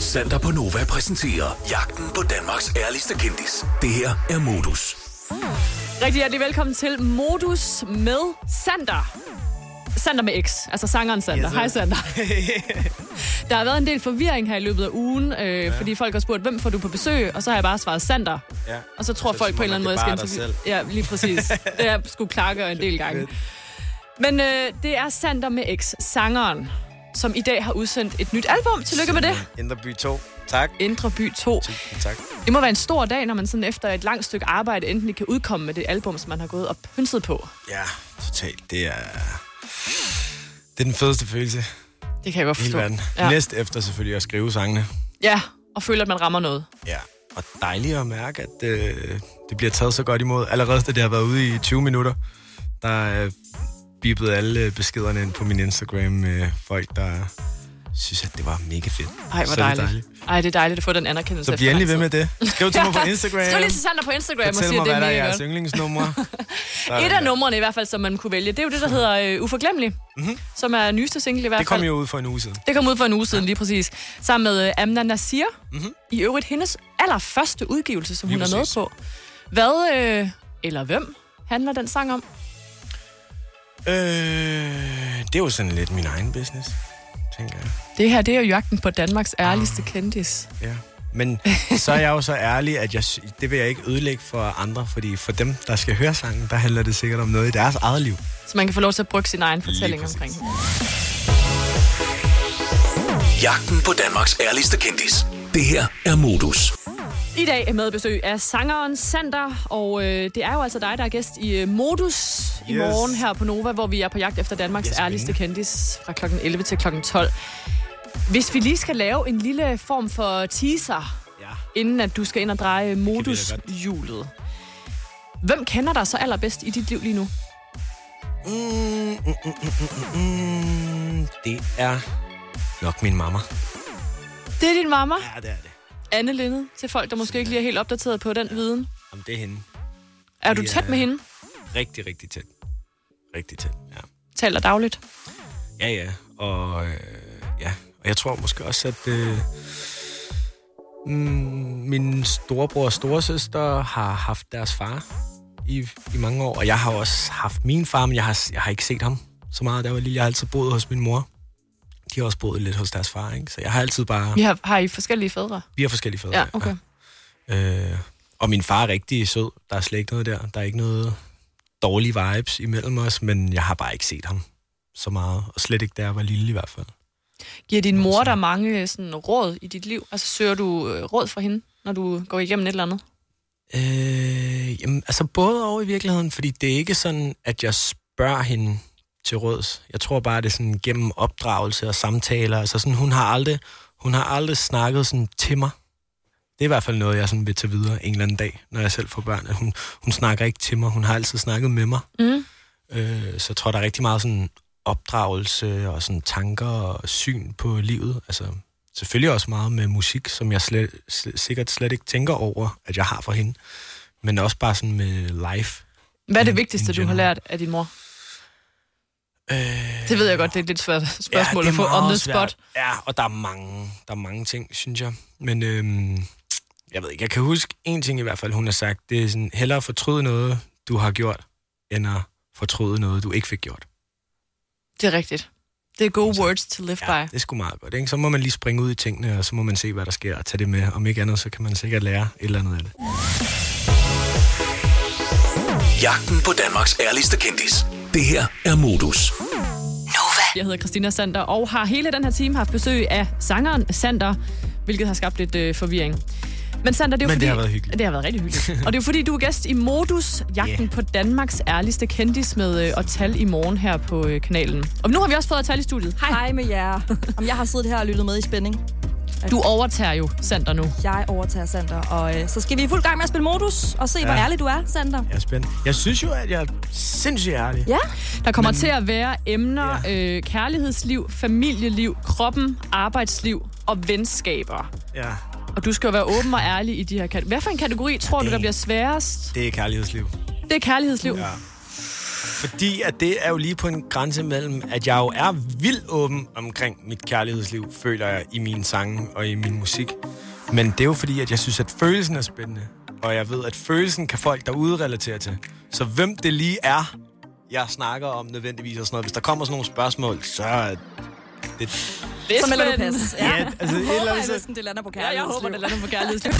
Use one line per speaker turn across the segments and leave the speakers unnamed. Sander på Nova præsenterer Jagten på Danmarks ærligste kendis. Det her er Modus.
Rigtig hjertelig velkommen til Modus med Sander. Sander med X, altså sangeren Sander.
Yes,
Hej Sander. Der har været en del forvirring her i løbet af ugen, øh, ja. fordi folk har spurgt, hvem får du på besøg? Og så har jeg bare svaret Sander.
Ja.
Og så tror
Så
folk på en eller
synes man,
anden måde,
det
jeg
er
skal
bare dig
interviewe- Ja, lige præcis. det har jeg skulle klargøre en del gange. Men øh, det er Sander med X, sangeren, som i dag har udsendt et nyt album. Tillykke med det.
Indre by 2. Tak.
Indre By 2.
Tusind tak.
Det må være en stor dag, når man sådan efter et langt stykke arbejde endelig kan udkomme med det album, som man har gået og pynset på.
Ja, totalt. Det er... Det er den fedeste følelse i
Det kan jeg godt
hele
forstå.
verden. Ja.
Ja.
Næst efter selvfølgelig at skrive sangene.
ja, og føler, at man rammer noget.
Ja. Og dejligt at mærke, at øh, det bliver taget så godt imod. Allerede da det har været ude i 20 minutter, der er bippet alle øh, beskederne ind på min Instagram med folk, der synes, at det var mega fedt.
Ej,
Så
hvor
er det
dejligt. Ej, det er dejligt at få den anerkendelse.
Så bliv endelig ved med det. Skriv til mig på Instagram.
Skriv lige til Sander på Instagram og
Fortæl
siger,
mig,
at det
hvad
er
der er
mega
jeres
godt.
yndlingsnumre. Der er
Et
der.
af numrene i hvert fald, som man kunne vælge, det er jo det, der hedder øh, Uforglemmelig, mm-hmm. som er nyeste single i hvert
Mhm. Det
fald.
kom jo ud for en uge siden.
Det kom ud for en uge siden, lige præcis. Sammen med øh, Amna Nasir. Mm-hmm. I øvrigt hendes allerførste udgivelse, som
Mhm. Lige
hun er med
præcis.
på. Hvad, øh, eller hvem, handler den sang om?
Øh, det er jo sådan lidt min egen business, tænker jeg.
Det her, det er jo jagten på Danmarks ærligste
Ah.
kendis.
Ja. Men så er jeg jo så ærlig, at jeg, sy- det vil jeg ikke ødelægge for andre, fordi for dem, der skal høre sangen, der handler det sikkert om noget i deres eget liv.
Så man kan få lov til at bruge sin egen fortælling
præcis.
omkring.
Jagten på Danmarks ærligste kendis. Det her er Modus.
I dag er med besøg af sangeren Sander, og øh, det er jo altså dig, der er gæst i øh, Modus i
Yes.
morgen her på Nova, hvor vi er på jagt efter Danmarks
Ja,
yes,
spændende.
ærligste kendis fra kl. 11 til kl. 12. Hvis vi lige skal lave en lille form for teaser,
Ja.
inden at du skal ind og dreje Modus-hjulet. Hvem kender dig så allerbedst i dit liv lige nu?
Mm, mm, mm, mm, mm, mm. Det er nok min mamma.
Det er din mamma,
Ja, det er det.
Anne Linde, til folk, der måske ikke lige er helt opdateret på den viden.
Om det er hende.
Er du
Ja.
tæt med hende?
Rigtig, rigtig tæt. Rigtig tæt, ja.
Taler dagligt.
Ja, ja. Og, øh, ja. og jeg tror måske også, at øh, mm, min storebror og storesøster har haft deres far i, i mange år. Og jeg har også haft min far, men jeg har, jeg har ikke set ham så meget. Der var lille. Jeg har altid boet hos min mor. De har også boet lidt hos deres far, ikke? Så jeg har altid bare...
Vi har, har I forskellige fædre?
Vi har forskellige fædre.
Ja, okay.
Øh, og min far er rigtig sød. Der er slet ikke noget der. Der er ikke noget dårlige vibes imellem os, men jeg har bare ikke set ham så meget. Og slet ikke, da jeg var lille i hvert fald.
Giver din mor dig mange øh, sådan, råd i dit liv? Altså søger du øh, råd fra hende, når du går igennem et eller andet?
Øh, jamen, altså både og i virkeligheden, fordi det er ikke sådan, at jeg spørger hende til råds. Jeg tror bare, det er sådan gennem opdragelse og samtaler. Altså sådan, hun har aldrig, hun har aldrig snakket sådan til mig. Det er i hvert fald noget, jeg sådan vil tage videre en eller anden dag, når jeg selv får børn. At hun, hun snakker ikke til mig, hun har altid snakket med mig.
Mm.
Øh, så jeg tror, der er rigtig meget sådan opdragelse og sådan tanker og syn på livet. Altså, selvfølgelig også meget med musik, som jeg slet, slet, sikkert slet ikke tænker over, at jeg har for hende. Men også bare sådan med life.
Hvad er det
In-
vigtigste,
in
du har
general.
lært af din mor?
Øh,
Det ved jeg godt, det er et lidt svært spørgsmål
det
ja,
er
at få on
meget
the spot.
svært. Ja, og der er mange, der er mange ting, synes jeg. Men øhm, jeg ved ikke, jeg kan huske en ting i hvert fald, hun har sagt. Det er sådan, hellere fortryde noget, du har gjort, end at fortryde noget, du ikke fik gjort.
Det er rigtigt. Det er gode words to live
Altså, Ja,
by.
det er sgu meget godt. Ikke? Så må man lige springe ud i tingene, og så må man se, hvad der sker, og tage det med. Om ikke andet, så kan man sikkert lære et eller andet af det.
Jagten på Danmarks ærligste kendis. Det her er Modus.
Jeg hedder Christina Sander og har hele den her time haft besøg af sangeren Sander, hvilket har skabt lidt øh, forvirring. Men Sander, det er jo
Men det
fordi...
har været hyggeligt.
Det har været rigtig hyggeligt. og det er jo fordi, du er gæst i Modus, jagten yeah.
Yeah.
på Danmarks ærligste kendis med øh, og tal i morgen her på øh, kanalen. Og nu har vi også fået tal i studiet. Hej.
Hej med jer. Om jeg har siddet her og lyttet med i spænding.
Du overtager jo Sander nu.
Jeg overtager Sander, og øh, så skal vi i fuld gang med at spille modus og se, ja. hvor
Ja.
ærlig du er, Sander.
Jeg er spændt. Jeg synes jo, at jeg er sindssygt ærlig.
Ja,
Der kommer Men... til at være emner, ja. øh, kærlighedsliv, familieliv, kroppen, arbejdsliv og venskaber.
ja.
Og du skal jo være åben og ærlig i de her kategorier. Hvad for en kategori tror du, der
Damn.
bliver sværest?
Det er kærlighedsliv.
Det er kærlighedsliv. Ja.
Fordi at det er jo lige på en grænse mellem, at jeg jo er vildt åben omkring mit kærlighedsliv, føler jeg i mine sange og i min musik. Men det er jo fordi, at jeg synes, at følelsen er spændende. Og jeg ved, at følelsen kan folk derude relatere til. Så hvem det lige er, jeg snakker om nødvendigvis og sådan noget. Hvis der kommer sådan nogle spørgsmål, så er det...
Hvis
Så melder du
man-
pas.
Ja, altså, et eller
Håber
andet
jeg,
sted-
hvis den- det lander på
Ja, jeg håber, det lander på kærlighedsliv.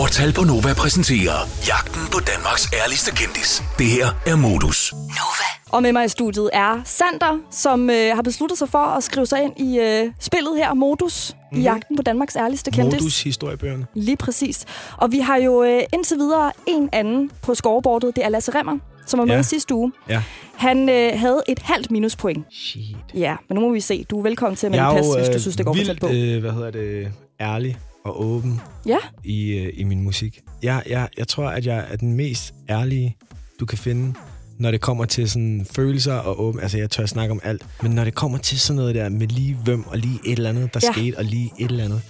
Årtal på Nova præsenterer Jagten på Danmarks ærligste kendis. Det her er Modus.
Og med mig i studiet er Sander, som øh, har besluttet sig for at skrive sig ind i øh, spillet her, Modus, mm-hmm. i jagten på Danmarks ærligste kendis.
Modus historiebøgerne.
Lige præcis. Og vi har jo øh, indtil videre en anden på scoreboardet, det er Lasse Remmer, som var med
Ja.
ja. sidste uge.
Ja.
Han øh, havde et halvt minuspoint.
Shit.
Ja, men nu må vi se. Du er velkommen til at
Jeg
melde
er
pas,
jo
hvis du
øh,
synes, det går for tæt
vildt,
på.
øh, hvad hedder det, ærlig og åben
Ja,
i, øh, i min musik. Jeg, jeg, jeg tror, at jeg er den mest ærlige, du kan finde, når det kommer til sådan følelser og åben. Altså, jeg tør snakke om alt. Men når det kommer til sådan noget der med lige hvem og lige et eller andet, der
Ja.
ja. skete, og lige et eller andet,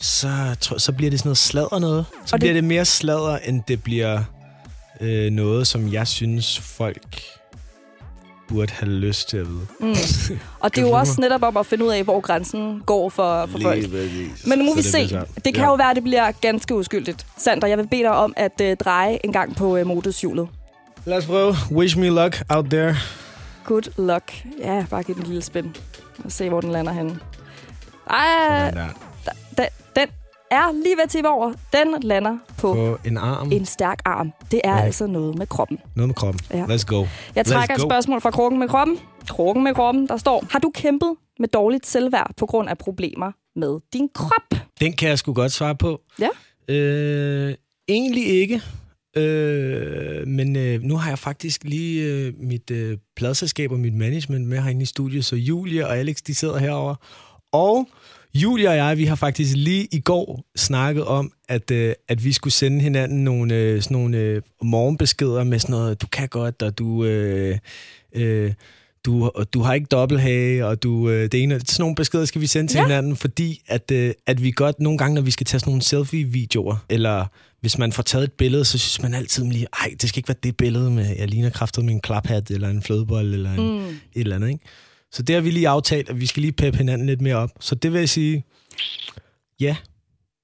så, tror, så bliver det sådan noget sladder noget. Så
Og det-
og bliver det... det mere sladder, end det bliver øh, noget, som jeg synes, folk burde have lyst til at vide.
Mm. og det er jo også netop om at finde ud af, hvor grænsen går for, for folk. Men nu må
Så
vi
det
se.
bliver svært.
Det kan
Ja.
jo være, at det bliver ganske uskyldigt. Sander, jeg vil bede dig om at øh, dreje en gang på øh, motorshjulet.
Lad os prøve. Wish me luck out there.
Good luck. Ja, bare giv den en lille spin. Og se, hvor den lander henne. Ej,
Der.
den, den er lige ved at tippe over. Den lander på
På en arm.
en stærk arm. Det er
Ja.
altså noget med kroppen.
Noget med kroppen.
Ja.
Let's go.
Jeg
Let's
trækker et
go.
spørgsmål fra krukken med kroppen. Krukken med kroppen, der står, har du kæmpet med dårligt selvværd på grund af problemer med din krop?
Den kan jeg sgu godt svare på.
Ja.
Øh, egentlig ikke. Øh, men øh, nu har jeg faktisk lige øh, mit øh, pladselskab og mit management med herinde i studiet, så Julie og Alex, de sidder herover. Og Julie og jeg, vi har faktisk lige i går snakket om, at, øh, at vi skulle sende hinanden nogle, øh, sådan nogle øh, morgenbeskeder med sådan noget, du kan godt, og du... Øh, øh, du, og du har ikke dobbelthage, og du, øh, det ene, sådan nogle beskeder skal vi sende til
Ja.
ja. hinanden, fordi at, øh, at vi godt nogle gange, når vi skal tage sådan nogle selfie-videoer, eller hvis man får taget et billede, så synes man altid lige, ej, det skal ikke være det billede med, jeg ligner kraftet med en klaphat, eller en flødebold, eller en, mm. et eller andet, ikke? Så det har vi lige aftalt, at vi skal lige peppe hinanden lidt mere op. Så det vil jeg sige, ja,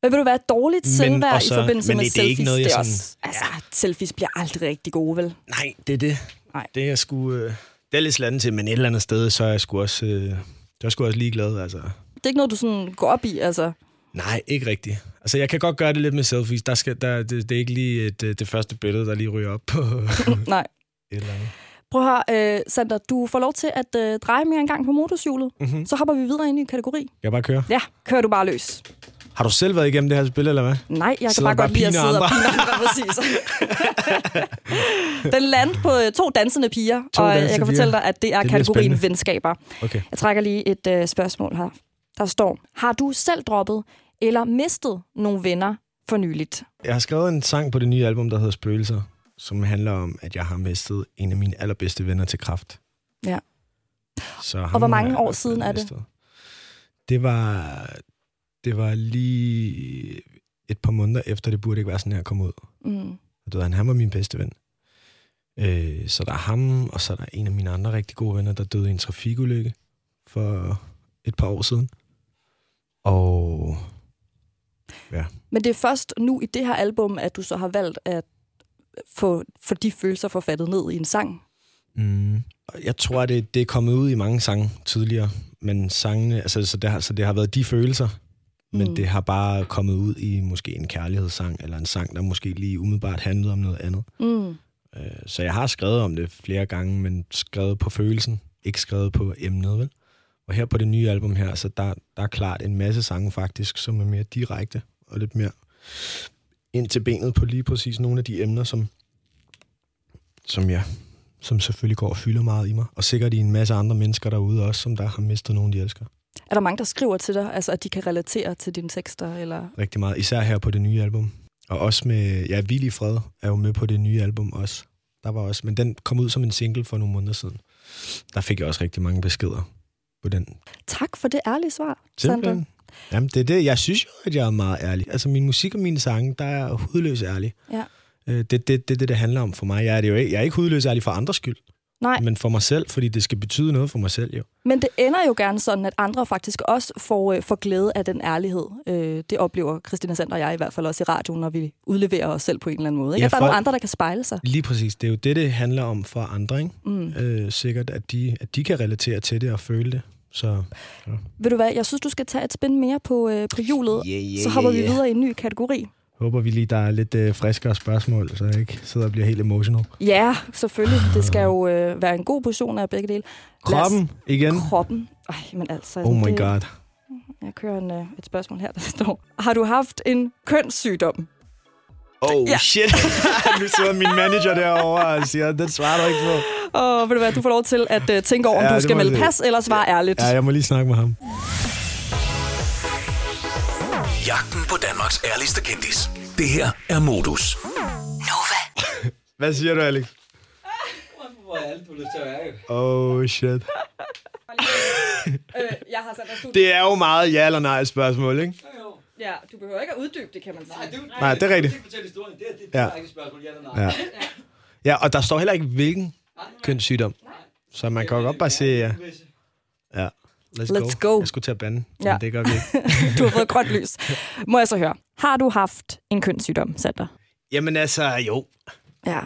Hvad vil du være dårligt
Men-
selvværd
og
i
så-
forbindelse
men
med
det er
selfies?
ikke noget, jeg
det er
sådan-
også, altså, selfies bliver aldrig rigtig gode, vel?
nej, det er det.
Nej.
Det er jeg sgu, øh, det er lidt slanden til, men et eller andet sted, så er jeg sgu også, øh, så er jeg sgu også ligeglad, altså.
Det er ikke noget, du sådan går op i, altså.
Mhm. Nej, ikke rigtigt. Altså, jeg kan godt gøre det lidt med selfies. Der skal, der, det, det er ikke lige et, øh, det første billede, der lige ryger op på et
Nej.
eller andet.
Prøv at høre, øh, Sander, du får lov til at øh, dreje mere en gang på motorshjulet.
Mhm.
Mm-hmm. Så hopper vi videre ind i en kategori.
Jeg bare kører.
Ja, kører du bare løs.
Har du selv været igennem det her spil, eller hvad?
Nej, jeg kan
Sidder
bare
og bare
godt lide at
piner
sidde og
andre.
pine andre, præcis. Den landte på øh, to dansende piger,
To
og øh, jeg
dansende
kan
piger.
fortælle dig, at det er
Det bliver
kategorien
spændende.
venskaber.
Okay.
Jeg trækker lige et øh, spørgsmål her. Der står, har du selv droppet eller mistet nogle venner for nyligt?
Jeg har skrevet en sang på det nye album, der hedder Spøgelser, som handler om, at jeg har mistet en af mine allerbedste venner til kraft.
Ja.
Så ham
hvor
har
mange
jeg
år
i hvert fald
siden er det?
mistet. Det var, det var lige et par måneder efter, det burde ikke være sådan her at komme ud.
Mm.
Og du ved, han, han var min bedste ven. Øh, så der er ham, og så er der en af mine andre rigtig gode venner, der døde i en trafikulykke for et par år siden. Og
Men det er først nu i det her album, at du så har valgt at få, få de følelser forfattet ned i en sang.
mm, og jeg tror, det, det er kommet ud i mange sange tidligere, men sangene, altså så det, har, så det har været de følelser, men
Mm.
det har bare kommet ud i måske en kærlighedssang, eller en sang, der måske lige umiddelbart handlede om noget andet.
Mm.
Øh, Så jeg har skrevet om det flere gange, men skrevet på følelsen, ikke skrevet på emnet, vel? Og her på det nye album her, så der, der er klart en masse sange faktisk, som er mere direkte og lidt mere ind til benet på lige præcis nogle af de emner, som, som jeg som selvfølgelig går og fylder meget i mig. Og sikkert i en masse andre mennesker derude også, som der har mistet nogen, de elsker
Er der mange, der skriver til dig, altså at de kan relatere til dine tekster? Eller...
rigtig meget. Især her på det nye album. Og også med, ja, Vild i Fred er jo med på det nye album også. Der var også, men den kom ud som en single for nogle måneder siden. Der fik jeg også rigtig mange beskeder på den.
Tak for det ærlige svar, Sandra.
Simpelthen. Jamen, det er det. Jeg synes jo, at jeg er meget ærlig. Altså, min musik og mine sange, der er jeg hudløs ærlig.
Ja.
Øh, Det er det, det, det, det handler om for mig. Jeg er, det jo ikke, jeg er ikke hudløs ærlig for andres skyld.
Nej.
men for mig selv, fordi det skal betyde noget for mig selv jo.
Men det ender jo gerne sådan, at andre faktisk også får, øh, får glæde af den ærlighed. Øh, det oplever Christina Sander og jeg i hvert fald også i radioen, når vi udleverer os selv på en eller anden måde. Ikke?
Ja,
Ja, der
folk-
er nogle andre, der kan spejle sig.
Lige præcis. Det er jo det, det handler om for andre, ikke? Mm. Øh, sikkert, at de, at de kan relatere til det og føle det. Så
Ved du hvad, jeg synes, du skal tage et spin mere på, øh, på hjulet,
Yeah, yeah,
så hopper
yeah,
vi
yeah.
videre i en ny kategori.
håber vi lige, der er lidt øh, friskere spørgsmål, så jeg ikke sidder og bliver helt emotional.
Ja, selvfølgelig. Det skal jo øh, være en god portion af begge dele. Lad os-
Kroppen igen.
Kroppen. Ej, men altså...
Oh my
det-
god.
Jeg kører en, øh, et spørgsmål her, der står... Har du haft en kønssygdom?
Oh
Ja.
shit. nu sidder min manager derovre og siger, den svarer du ikke på.
Og ved du hvad, du får lov til at øh, tænke over, om
Ja,
ja, du
det
skal
må
melde
jeg-
pas eller svare ærligt.
Ja, jeg må lige snakke med ham.
Jagten på Danmarks ærligste kendis. Det her er Modus.
Hvad siger du, Alex? Oh shit.
Øh, jeg har sendt dig studie.
Det er jo meget ja eller nej spørgsmål, ikke?
Ja, du behøver ikke at uddybe det, kan man sige. Nej,
Nej, det er rigtigt.
fortælle historien. Det er det
Ja.
direkte spørgsmål, ja eller nej.
Ja. ja, og der står heller ikke, hvilken kønssygdom. Så man kan jo godt bare sige, ja. ja. Let's,
Let's go.
Jeg skulle til at bande, ja.
Ja.
men det gør vi ikke.
du har fået grønt lys. Må jeg så høre. Har du haft en kønssygdom, Sander?
Jamen altså, jo.
Ja.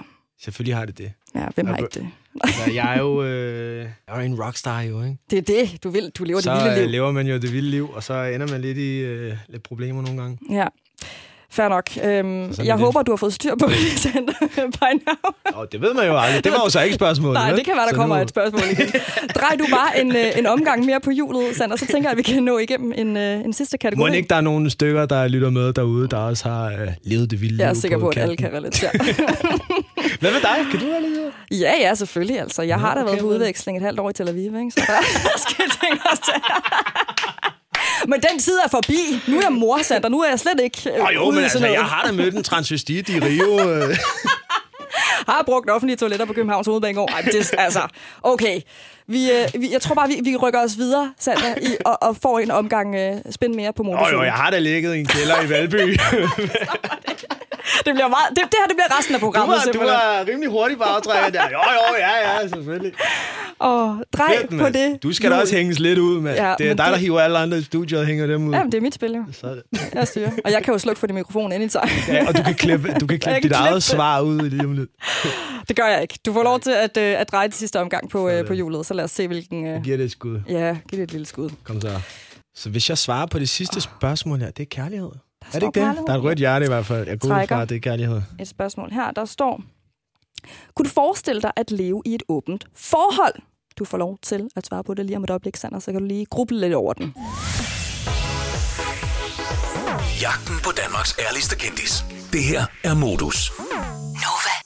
Selvfølgelig har det det.
Ja, hvem har
Jeg
ikke det?
Altså, jeg er jo øh, jeg er jo en rockstar, jo, ikke?
Det er det, du vil. Du lever
Så
det vilde
øh,
liv.
lever man jo det vilde liv, og så ender man lidt i øh, lidt problemer nogle gange.
Ja. Fair nok. Øhm,
sådan er
jeg
det.
håber, du har fået styr på det, Sander, by now.
Nå, det ved man jo aldrig. Det var jo så ikke spørgsmålet.
Nej,
vel?
det kan være, der
Så
kommer
nu-
et spørgsmål igen. Drej du bare en, øh, en omgang mere på hjulet, Sander, så tænker jeg, at vi kan nå igennem en, øh, en sidste kategori.
Må ikke, der er nogle stykker, der lytter med derude, der også har øh, levet det vilde
jeg er
liv
sikker på, at
kanten?
alle kan relatere.
Hvad med dig? Kan du have levet?
Ja, ja, selvfølgelig. Altså. Jeg har da
okay,
været på
men-
udveksling et halvt år i Tel Aviv, ikke? så der skal jeg tænke os til. Men den tid er forbi. Nu er jeg morsat, og nu er jeg slet ikke øh,
Åh jo,
ude
men
i
altså,
sådan noget.
jeg har da mødt en transvestit i Rio. øh.
har brugt offentlige toiletter på Københavns Hovedbanegård. Ej, men det er altså... Okay. Vi, øh, vi, jeg tror bare, vi, vi rykker os videre, Sander, i, og, og får en omgang øh, spænd mere på
Åh jo,
motorcyklen.
jeg har da ligget i en kælder i Valby.
Det, bliver meget, det, det her det bliver resten af
Du
programmet,
var, du
simpelthen.
var rimelig hurtig på aftrækket der. Jo, jo, ja, ja, selvfølgelig.
Og drej
Fedt,
på
mand.
det.
Du skal da
hjul.
også hænges lidt ud, mand.
Ja,
Ja, det er
men
dig, der
det-
hiver alle andre i studiet og hænger dem ud.
Jamen, det er mit spil, jo.
Så er det.
Jeg styrer. Og jeg kan jo slukke for det mikrofon anytime.
Ja, og du kan klippe, du kan
Jeg
klippe
kan
dit
klippe
eget
det.
svar ud lige om lidt.
Det gør jeg ikke. Du får lov til at, øh, at dreje det sidste omgang på, øh, på hjulet, så lad os se, hvilken... Øh...
Giv det et skud.
Ja, giv det et lille skud.
Kom så. Så hvis jeg svarer på det sidste spørgsmål her, det er kærlighed. Er det
Ah. står
ikke det?
kærlighed.
Der er et rødt hjerte i hvert fald. Jeg går ud
Trækker.
fra, at det er kærlighed.
Et spørgsmål her, der står... Kunne du forestille dig at leve i et åbent forhold? Du får lov til at svare på det lige om et øjeblik, Sander, så kan du lige gruble lidt over den.
Jagten på Danmarks ærligste kendis. Det her er Modus.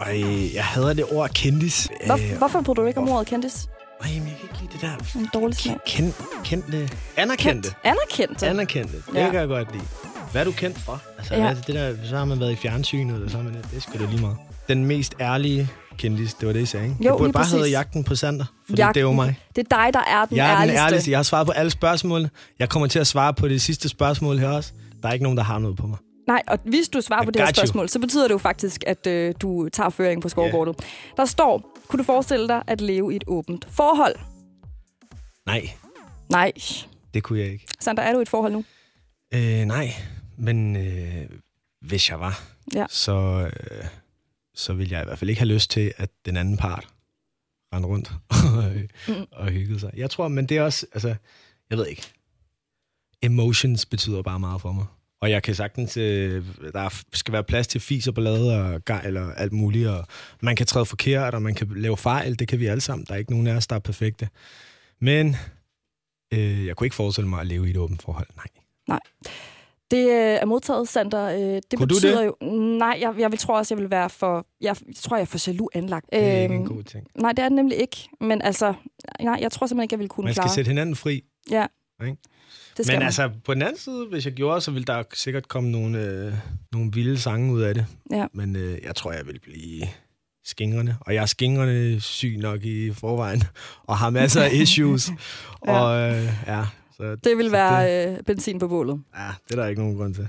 Ej, jeg hader det ord kendis.
Hvor,
Øh,
hvorfor bruger du ikke om ordet kendis?
Ej, men jeg kan ikke lide det der.
En dårlig smag.
Kendt, kendte. Anerkendte.
Anerkendt.
Anerkendte. Det
Ja.
kan jeg godt lide. Hvad er du kendt for? Altså,
Ja.
ja. altså det der, så har man været i fjernsynet, eller så har man det. Det skulle da lige meget. Den mest ærlige kendis, det var det, I sagde, ikke? det
Jo,
burde
lige
bare
præcis.
hedde Jagten på Sander, fordi Jagten. det er jo mig.
Det er dig, der er den
Jeg er den
ærligste.
ærligste. Jeg har svaret på alle spørgsmålene. Jeg kommer til at svare på det sidste spørgsmål her også. Der er ikke nogen, der har noget på mig.
Nej, og hvis du svarer
I
på det her
got you.
spørgsmål, så betyder det jo faktisk, at øh, du tager føringen på scoreboardet. Yeah. Der står, kunne du forestille dig at leve i et åbent forhold?
Nej,
Nej.
det kunne jeg ikke.
Sander, er du i et forhold nu?
Øh, nej, men øh, hvis jeg var,
Ja.
så, øh, så ville jeg i hvert fald ikke have lyst til, at den anden part rendte rundt og hyggede sig. Jeg tror, men det er også, altså, jeg ved ikke. Emotions betyder bare meget for mig. Og jeg kan sagtens, øh, der er- skal være plads til fis og ballade og gejl og alt muligt, og man kan træde forkert, og man kan lave fejl, det kan vi alle sammen. Der er ikke nogen af os, der er perfekte. Men øh, jeg kunne ikke forestille mig at leve i et åbent forhold, nej.
Det øh, er modtaget, Sander. Øh, det
Kunne du
betyder
det?
jo... Nej, jeg, jeg vil, tror også, jeg vil være for... Jeg, tror, jeg er for jaloux anlagt. Øhm,
Det er ikke en god ting.
nej, det er det nemlig ikke. Men altså, nej, jeg tror simpelthen ikke, jeg ville kunne
Man skal
klare.
sætte hinanden fri.
Ja,
Ikke?
det skal
Men
man.
altså, på den anden side, hvis jeg gjorde, så ville der sikkert komme nogle, øh, nogle vilde sange ud af det.
Ja.
Men øh, jeg tror, jeg vil blive skingrende. Og jeg er skingrende syg nok i forvejen, og har masser af issues. ja. Og øh, ja, så
Det vil
så Det,
være øh, benzin på bålet.
ja, det er der ikke nogen grund til.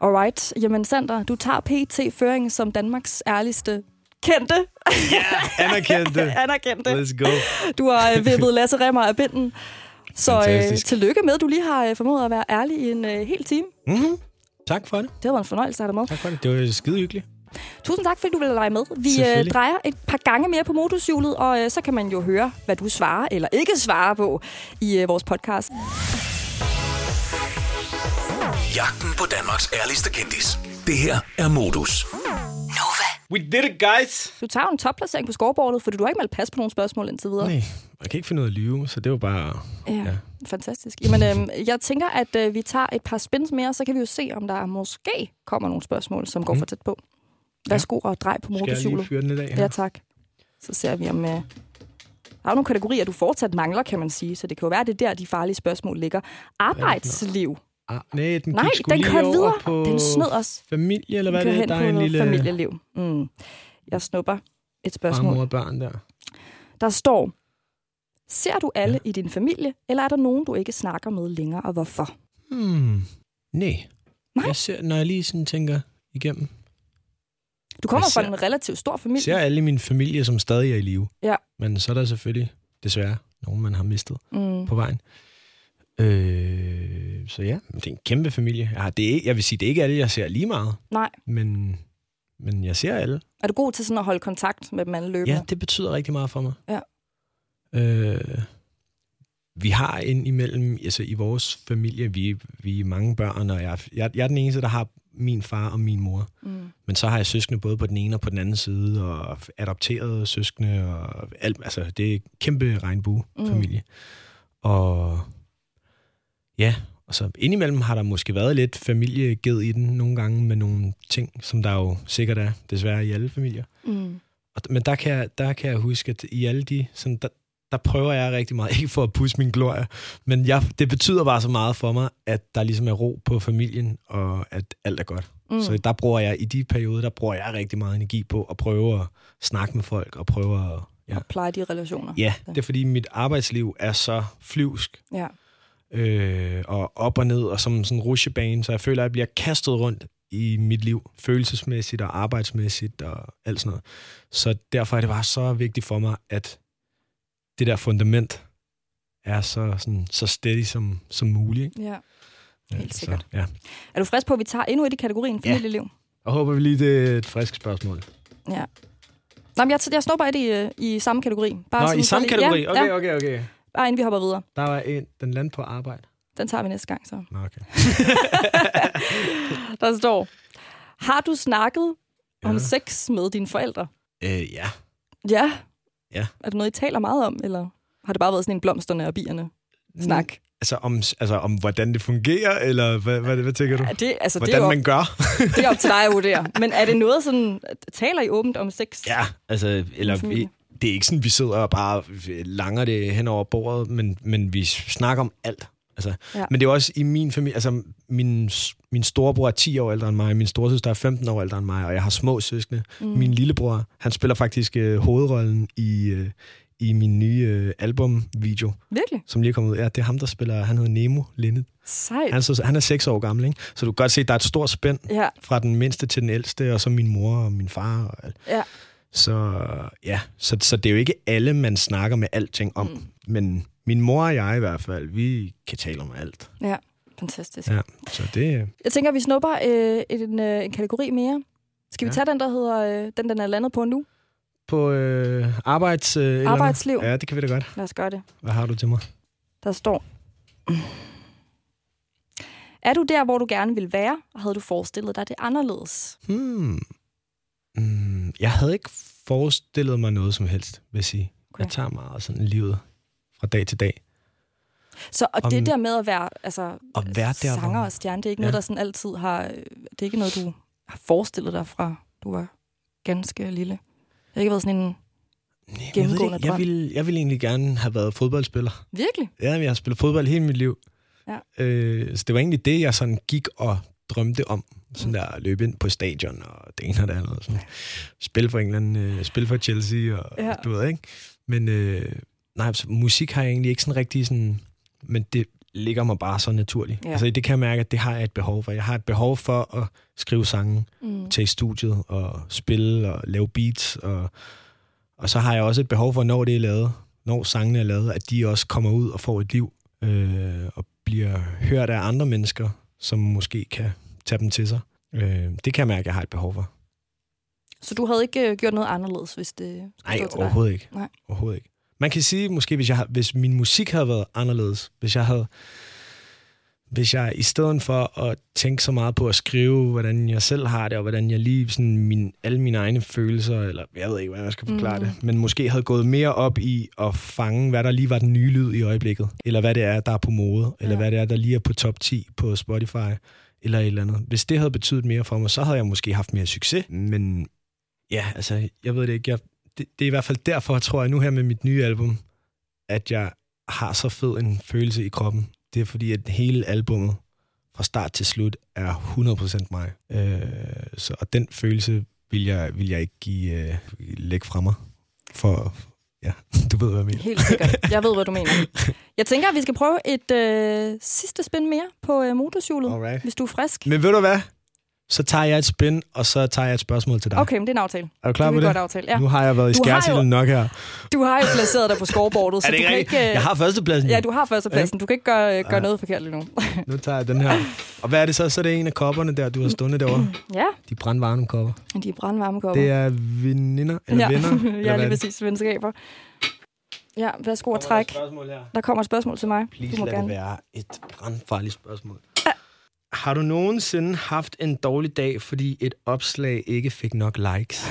Alright. Jamen, Sander, du tager PT-føring som Danmarks ærligste kendte,
Anerkendte.
anerkendte.
Let's go.
Du har øh, vippet Lasse Remmer af binden. Så øh,
Fantastisk.
tillykke med, at du lige har øh, formået at være ærlig i en øh, hel time.
Mm-hmm. Tak for det.
Det var en fornøjelse at have dig med.
Tak for det. Det var skide hyggeligt.
Tusind tak, fordi du ville lege med. Vi øh,
Selvfølgelig.
drejer et par gange mere på motorhjulet, og øh, så kan man jo høre, hvad du svarer eller ikke svarer på i øh, vores podcast.
Jagten på Danmarks ærligste kendis. Det her er Modus.
We did it, guys!
Du tager jo en topplacering på scoreboardet, fordi du har ikke meldt pas på nogen spørgsmål indtil videre.
Nej, jeg kan ikke finde ud af at lyve, så det var bare...
Ja, fantastisk. Jamen, øh, jeg tænker, at øh, vi tager et par spins mere, så kan vi jo se, om der måske kommer nogle spørgsmål, som går for tæt på. Værsgo og drej på
Mhm. Skal jeg lige
motorhjulet.
fyre den i dag?
Ja, tak. Så ser vi om... Øh... Der er jo nogle kategorier, du fortsat mangler, kan man sige. Så det kan jo være, at det er der, de farlige spørgsmål ligger. Arbejdsliv.
Ah, nej, den
Nej,
gik sgu
den
lige
kørte
over
videre.
På
Den snød os.
Familie, eller hvad
Kør
det er?
hen
Der
på
er en lille
familieliv. Mm. Jeg snupper et spørgsmål.
farmor og børn der.
Der står, ser du alle i din familie, eller er der nogen, du ikke snakker med længere, og hvorfor?
Hmm. Nej.
Nej.
Jeg ser, når jeg lige sådan tænker igennem.
Du kommer
Jeg
fra
ser-
en relativt stor
Jeg
familie.
ser alle i min familie, som stadig er i live.
Ja.
Men så er der selvfølgelig, desværre, nogen, man har mistet
Mm.
på vejen. Øh, så ja, det er en kæmpe familie. Jeg, har, det er, ikke- jeg vil sige, det er ikke alle, jeg ser lige meget,
Nej.
men, men jeg ser alle.
Er du god til sådan at holde kontakt med dem alle løbende?
Ja, det betyder rigtig meget for mig.
Ja.
Øh, vi har ind imellem, altså i vores familie, vi, vi er mange børn, og jeg, jeg, jeg er den eneste, der har min far og min mor.
Mm.
Men så har jeg søskende både på den ene og på den anden side, og adopterede søskende, og alt, altså det er en kæmpe regnbue-familie. Mm. Og ja, og så indimellem har der måske været lidt familieged i den nogle gange med nogle ting, som der jo sikkert er, desværre i alle familier.
Mm.
Og, men der kan, jeg, der kan jeg huske, at i alle de... Sådan, der, der prøver jeg rigtig meget, ikke for at pusse min glorie, men jeg, det betyder bare så meget for mig, at der ligesom er ro på familien, og at alt er godt. Mm. Så der bruger jeg, i de perioder, der bruger jeg rigtig meget energi på at prøve at snakke med folk, og prøve at... Ja,
Og pleje de relationer.
ja det er fordi mit arbejdsliv er så flyvsk,
ja.
øh, og op og ned, og som sådan en rushebane, så jeg føler, at jeg bliver kastet rundt i mit liv, følelsesmæssigt og arbejdsmæssigt og alt sådan noget. Så derfor er det bare så vigtigt for mig, at det der fundament er så, sådan, så steady som, som muligt. Ikke?
ja. Helt sikkert.
Så, ja.
Er du frisk på, at vi tager endnu et i kategorien familieliv?
Og håber vi lige, det er et frisk spørgsmål.
Ja. Nå, men jeg, jeg snupper et i, øh, i samme kategori. Bare
Nå,
sådan
i
for
samme
lige-
kategori?
Ja,
Okay,
ja.
okay, okay.
Bare inden vi hopper videre.
Der var en, den landte på arbejde.
Den tager vi næste gang så.
Nå, okay.
Der står, har du snakket ja. om
Ja.
sex med dine forældre?
Øh, ja.
Ja.
Ja.
Er det noget, I taler meget om, eller har det bare været sådan en blomsterne og bierne snak? Mm.
Altså om, altså om, hvordan det fungerer, eller hvad, hvad, hvad tænker du?
Er det, altså, det,
Hvordan
er jo op,
man gør?
det er op til dig at vurdere. Men er det noget sådan, taler I åbent om sex?
Ja, altså, eller vi,
familie.
det er ikke sådan, vi sidder og bare øh, langer det hen over bordet, men, men vi snakker om alt. Altså,
Ja.
ja. Men det er også i min familie, altså min, s- min storebror er 10 år ældre end mig, min storesøster er 15 år ældre end mig, og jeg har små søskende. Mm. Min lillebror, han spiller faktisk øh, hovedrollen i, øh, i min nye øh, albumvideo,
Virkelig?
som lige er kommet ud. Ja, det er ham, der spiller, han hedder Nemo Linde.
Sejt.
Han, er så, han er 6 år gammel, ikke? så du kan godt se, at der er et stort spænd
Ja,
fra den mindste til den ældste, og så min mor og min far og alt.
ja.
Så ja, så, så det er jo ikke alle, man snakker med alting om. Mm. Men min mor og jeg i hvert fald, vi kan tale om alt.
Ja, fantastisk. Ja.
Ja, så det...
Jeg tænker, vi snupper øh, en, øh, en kategori mere. Skal vi
Ja.
tage den, der hedder øh, den, den er landet på nu?
På øh, arbejds... Øh, et eller andet.
Arbejdsliv.
Ja, det kan vi da godt.
Lad os gøre det.
Hvad har du til mig?
Der står... Er du der, hvor du gerne ville være, og havde du forestillet dig det anderledes?
Hmm. Mm, jeg havde ikke forestillet mig noget som helst, vil jeg sige. Okay. Jeg
Okay.
tager meget sådan livet fra dag til dag.
Så og
Om-
det der med at være, altså,
At være der, hvor
sanger
man-
og stjerne, det er ikke
Ja.
noget, der sådan altid har... øh, Det er ikke noget, du har forestillet dig fra, du var ganske lille. Det har ikke været sådan en...
Jamen, Jeg, ved det
Gennemgående
ikke. jeg,
drøm.
ville, jeg ville egentlig gerne have været fodboldspiller.
Virkelig?
Ja, jeg har spillet fodbold hele mit liv.
Ja.
Øh, så det var egentlig det, jeg sådan gik og drømte om. Sådan der at løbe ind på stadion og det ene og det andet. og Sådan. Spil for England, øh, spil for Chelsea og
Ja.
ja. du ved, ikke? Men øh, nej, så musik har jeg egentlig ikke sådan rigtig sådan... Men det, ligger mig bare så naturligt.
Ja.
Ja. Altså, det kan jeg mærke, at det har jeg et behov for. Jeg har et behov for at skrive sange, mm. tage i studiet og spille og lave beats. Og, og så har jeg også et behov for, når det er lavet, når sangene er lavet, at de også kommer ud og får et liv øh, og bliver hørt af andre mennesker, som måske kan tage dem til sig. Øh, det kan jeg mærke, at jeg har et behov for.
Så du havde ikke øh, gjort noget anderledes, hvis det skulle
Nej,
stå til dig?
overhovedet ikke.
Nej.
overhovedet ikke. Man kan sige, måske hvis, jeg, har- hvis min musik havde været anderledes, hvis jeg havde hvis jeg i stedet for at tænke så meget på at skrive, hvordan jeg selv har det, og hvordan jeg lige sådan min, alle mine egne følelser, eller jeg ved ikke, hvordan jeg skal forklare mm. det, men måske havde gået mere op i at fange, hvad der lige var den nye lyd i øjeblikket, eller hvad det er, der er på mode, eller hvad det er, der lige er på top 10 på Spotify, eller et eller andet. Hvis det havde betydet mere for mig, så havde jeg måske haft mere succes, men ja, altså, jeg ved det ikke. Jeg, det, det er i hvert fald derfor, tror jeg, nu her med mit nye album, at jeg har så fed en følelse i kroppen. Det er fordi, at hele albummet fra start til slut er 100% mig. Øh, så, og den følelse vil jeg, vil jeg ikke give, øh, lægge fra mig. For, ja, du ved, hvad jeg mener.
Helt sikkert. Jeg ved, hvad du mener. Jeg tænker, at vi skal prøve et øh, sidste spin mere på øh, motorcylet,
Alright.
hvis du er frisk.
Men ved du hvad? Så tager jeg et spin, og så tager jeg et spørgsmål til dig.
Okay, men det er en aftale.
Er du klar
det
på
er
det?
en godt aftale, ja.
Nu har jeg været i
Du har jo-
skærsilden nok her.
Du har jo placeret dig på scoreboardet, så
Er det
du kan
rigtigt?
ikke... øh,
Jeg har førstepladsen.
Ja, du har førstepladsen. Du kan ikke gøre, øh, gøre noget forkert lige nu.
Nu tager jeg den her. Og hvad er det så? Så er det en af kopperne der, du har stående derovre.
ja,
De brandvarme kopper.
de er brandvarme kopper.
Det er veninder, eller
ja.
venner.
ja,
eller
lige
hvad?
præcis venskaber. Ja, værsgo at træk. Der kommer et spørgsmål til mig.
Please
du må
lad
gerne.
det være et brandfarligt spørgsmål. Har du nogensinde haft en dårlig dag, fordi et opslag ikke fik nok likes?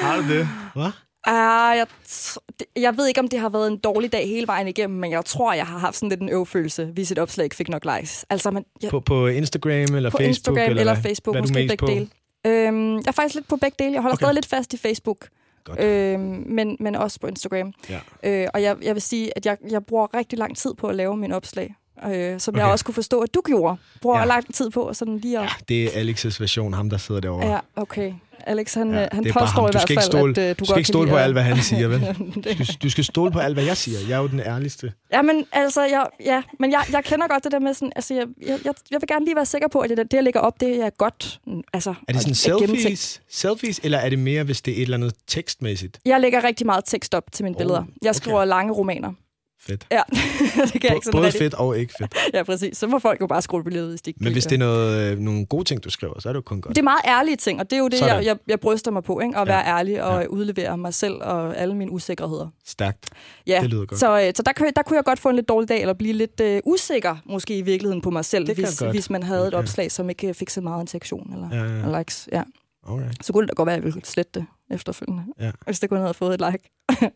har du det? Hvad?
Ah, jeg, tr- det- jeg ved ikke, om det har været en dårlig dag hele vejen igennem, men jeg tror, jeg har haft sådan lidt en øvfølelse, hvis et opslag ikke fik nok likes. Altså, man, jeg,
På, på Instagram eller
på
Facebook?
Instagram eller,
hvad?
Facebook,
Hvad er du
måske
mest
begge
på?
dele. Øhm, jeg er faktisk lidt på begge dele. Jeg holder okay.
Okay.
stadig lidt fast i Facebook,
Godt.
øhm, men, men også på Instagram.
Ja.
Øh, og jeg, jeg vil sige, at jeg, jeg bruger rigtig lang tid på at lave mine opslag, øh, som okay. jeg
Okay.
også kunne forstå, at du gjorde. Bruger ja.
Ja.
lang tid på sådan lige at...
Det er Alexes version, ham der sidder derovre.
Ja, ja okay. Alex, han,
Ja,
ja, han
det er bare
påstår
ham. Du
i hvert
skal
fald,
ikke stole-
at øh, du,
du skal ikke stole på alt, hvad han siger, vel?
vel?
Du, du skal stole på alt, hvad jeg siger. Jeg er jo den ærligste.
Ja, men altså, jeg, ja, men jeg, jeg kender godt det der med sådan, altså, jeg, jeg, jeg- jeg vil gerne lige være sikker på, at det, der- det jeg lægger op, det er godt, mm, altså...
Er det sådan
og- og gennemtænkt.
selfies, selfies, eller er det mere, hvis det er et eller andet tekstmæssigt?
Jeg lægger rigtig meget tekst op til mine
Oh,
billeder. Jeg skriver okay. lange romaner.
Fedt.
Ja, det kan jeg ikke
Bo-
sådan
både
rigtig.
fedt og ikke fedt.
Ja, præcis. Så må folk jo bare skrue billedet i stik.
Men hvis det er noget, øh, nogle gode ting, du skriver, så er det jo kun godt.
det er meget ærlige ting, og det er jo det,
Sådan.
jeg, jeg, jeg bryster mig på, ikke? at
Ja.
være ærlig og ja. udlevere mig selv og alle mine usikkerheder.
Stærkt.
Ja,
Det lyder godt.
så, øh, så der, kunne, der kunne jeg godt få en lidt dårlig dag, eller blive lidt øh, usikker måske i virkeligheden på mig selv,
Det kan
hvis,
godt.
hvis man havde et
Ja.
opslag, som ikke øh, fik så meget interaktion eller,
Ja, ja, ja.
eller likes. Ja.
Alright.
Så kunne det da godt være, at jeg ville slette det efterfølgende,
Ja.
hvis det kun havde fået et like.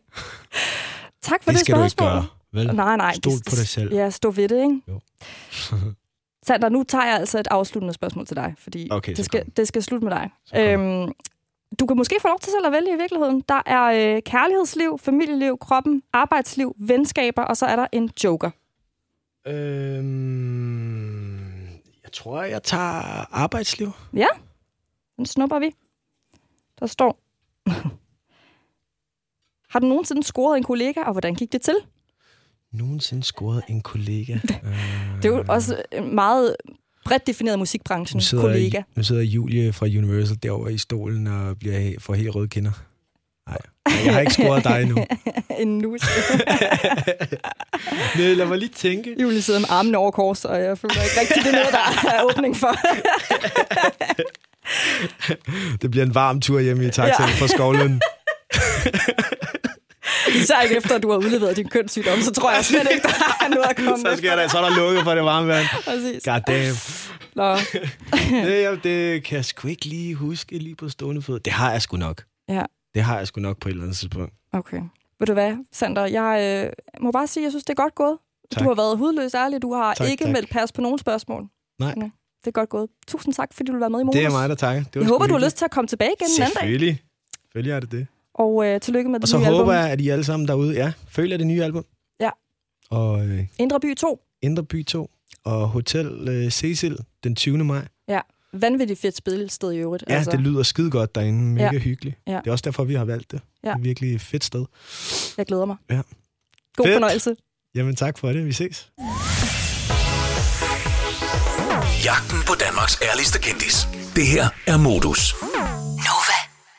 tak for
Det
det,
skal du ikke
spørgsmål.
gøre, vel?
Nej, nej.
Mm. Stol
det-
på dig selv.
Ja, stå ved det, ikke?
Jo.
Sander, nu tager jeg altså et afsluttende spørgsmål til dig, fordi
Okay, så
det, skal,
kom.
det skal slutte med dig.
Så kom.
Øhm, du kan måske få lov til selv at vælge i virkeligheden. Der er øh, kærlighedsliv, familieliv, kroppen, arbejdsliv, venskaber, og så er der en joker.
Øhm, jeg tror, jeg tager arbejdsliv.
Ja, den snupper vi. Der står... Har du nogensinde scoret en kollega, og hvordan gik det til?
Nogensinde scoret en kollega.
Det er jo også øh, meget bredt defineret i musikbranchen,
nu sidder,
kollega.
nu sidder Julie fra Universal derovre i stolen og bliver he- får helt røde kinder. Nej, jeg har ikke scoret dig endnu.
en nus.
Men lad mig lige tænke.
Julie sidder med armen over kors, og jeg føler ikke rigtig, det er noget, der er åbning for.
Det bliver en varm tur hjemme i taxaen
Ja.
ja. fra Skovlund.
Især ikke efter, at du har udleveret din kønssygdom, så tror jeg slet ikke, der er noget at komme
så, skal jeg da, så er der lukket for det varme vand.
Præcis.
God damn.
Nå.
Det, jeg- det kan jeg sgu ikke lige huske lige på stående fod. Det har jeg sgu nok.
Ja,
Det har jeg sgu nok på et eller andet tidspunkt.
okay. Ved du hvad, Sander, jeg øh, må bare sige, at jeg synes, det er godt gået. Tak.
Tak.
Du har været hudløs ærlig. Du har
Tak,
ikke
tak.
meldt pas på nogen spørgsmål.
Nej.
Ja, det er godt gået. Tusind tak, fordi du vil være med i morgen.
Det er mig, der takker. Det var
Jeg
sgu
håber, du har
hyggeligt.
lyst til at komme tilbage igen en anden dag.
Selvfølgelig. Selvfølgelig er det det.
Og øh, tillykke med
Og
det
så
nye album.
håber jeg, at I alle sammen derude, ja, føler det nye album.
Ja.
Og øh,
Indre By 2.
Indre By 2 og Hotel øh, Cecil den 20. maj.
Ja, vanvittigt fedt spillested i øvrigt.
Ja, altså. det lyder skide godt derinde. Mega
Ja.
ja. hyggeligt.
Ja.
Ja. Det er også derfor, vi har valgt det.
Ja.
Det er virkelig et fedt sted.
Jeg glæder mig.
Ja.
God
Fedt.
fornøjelse.
Jamen tak for det. Vi ses.
Jagten på Danmarks ærligste kendis. Det her er Modus.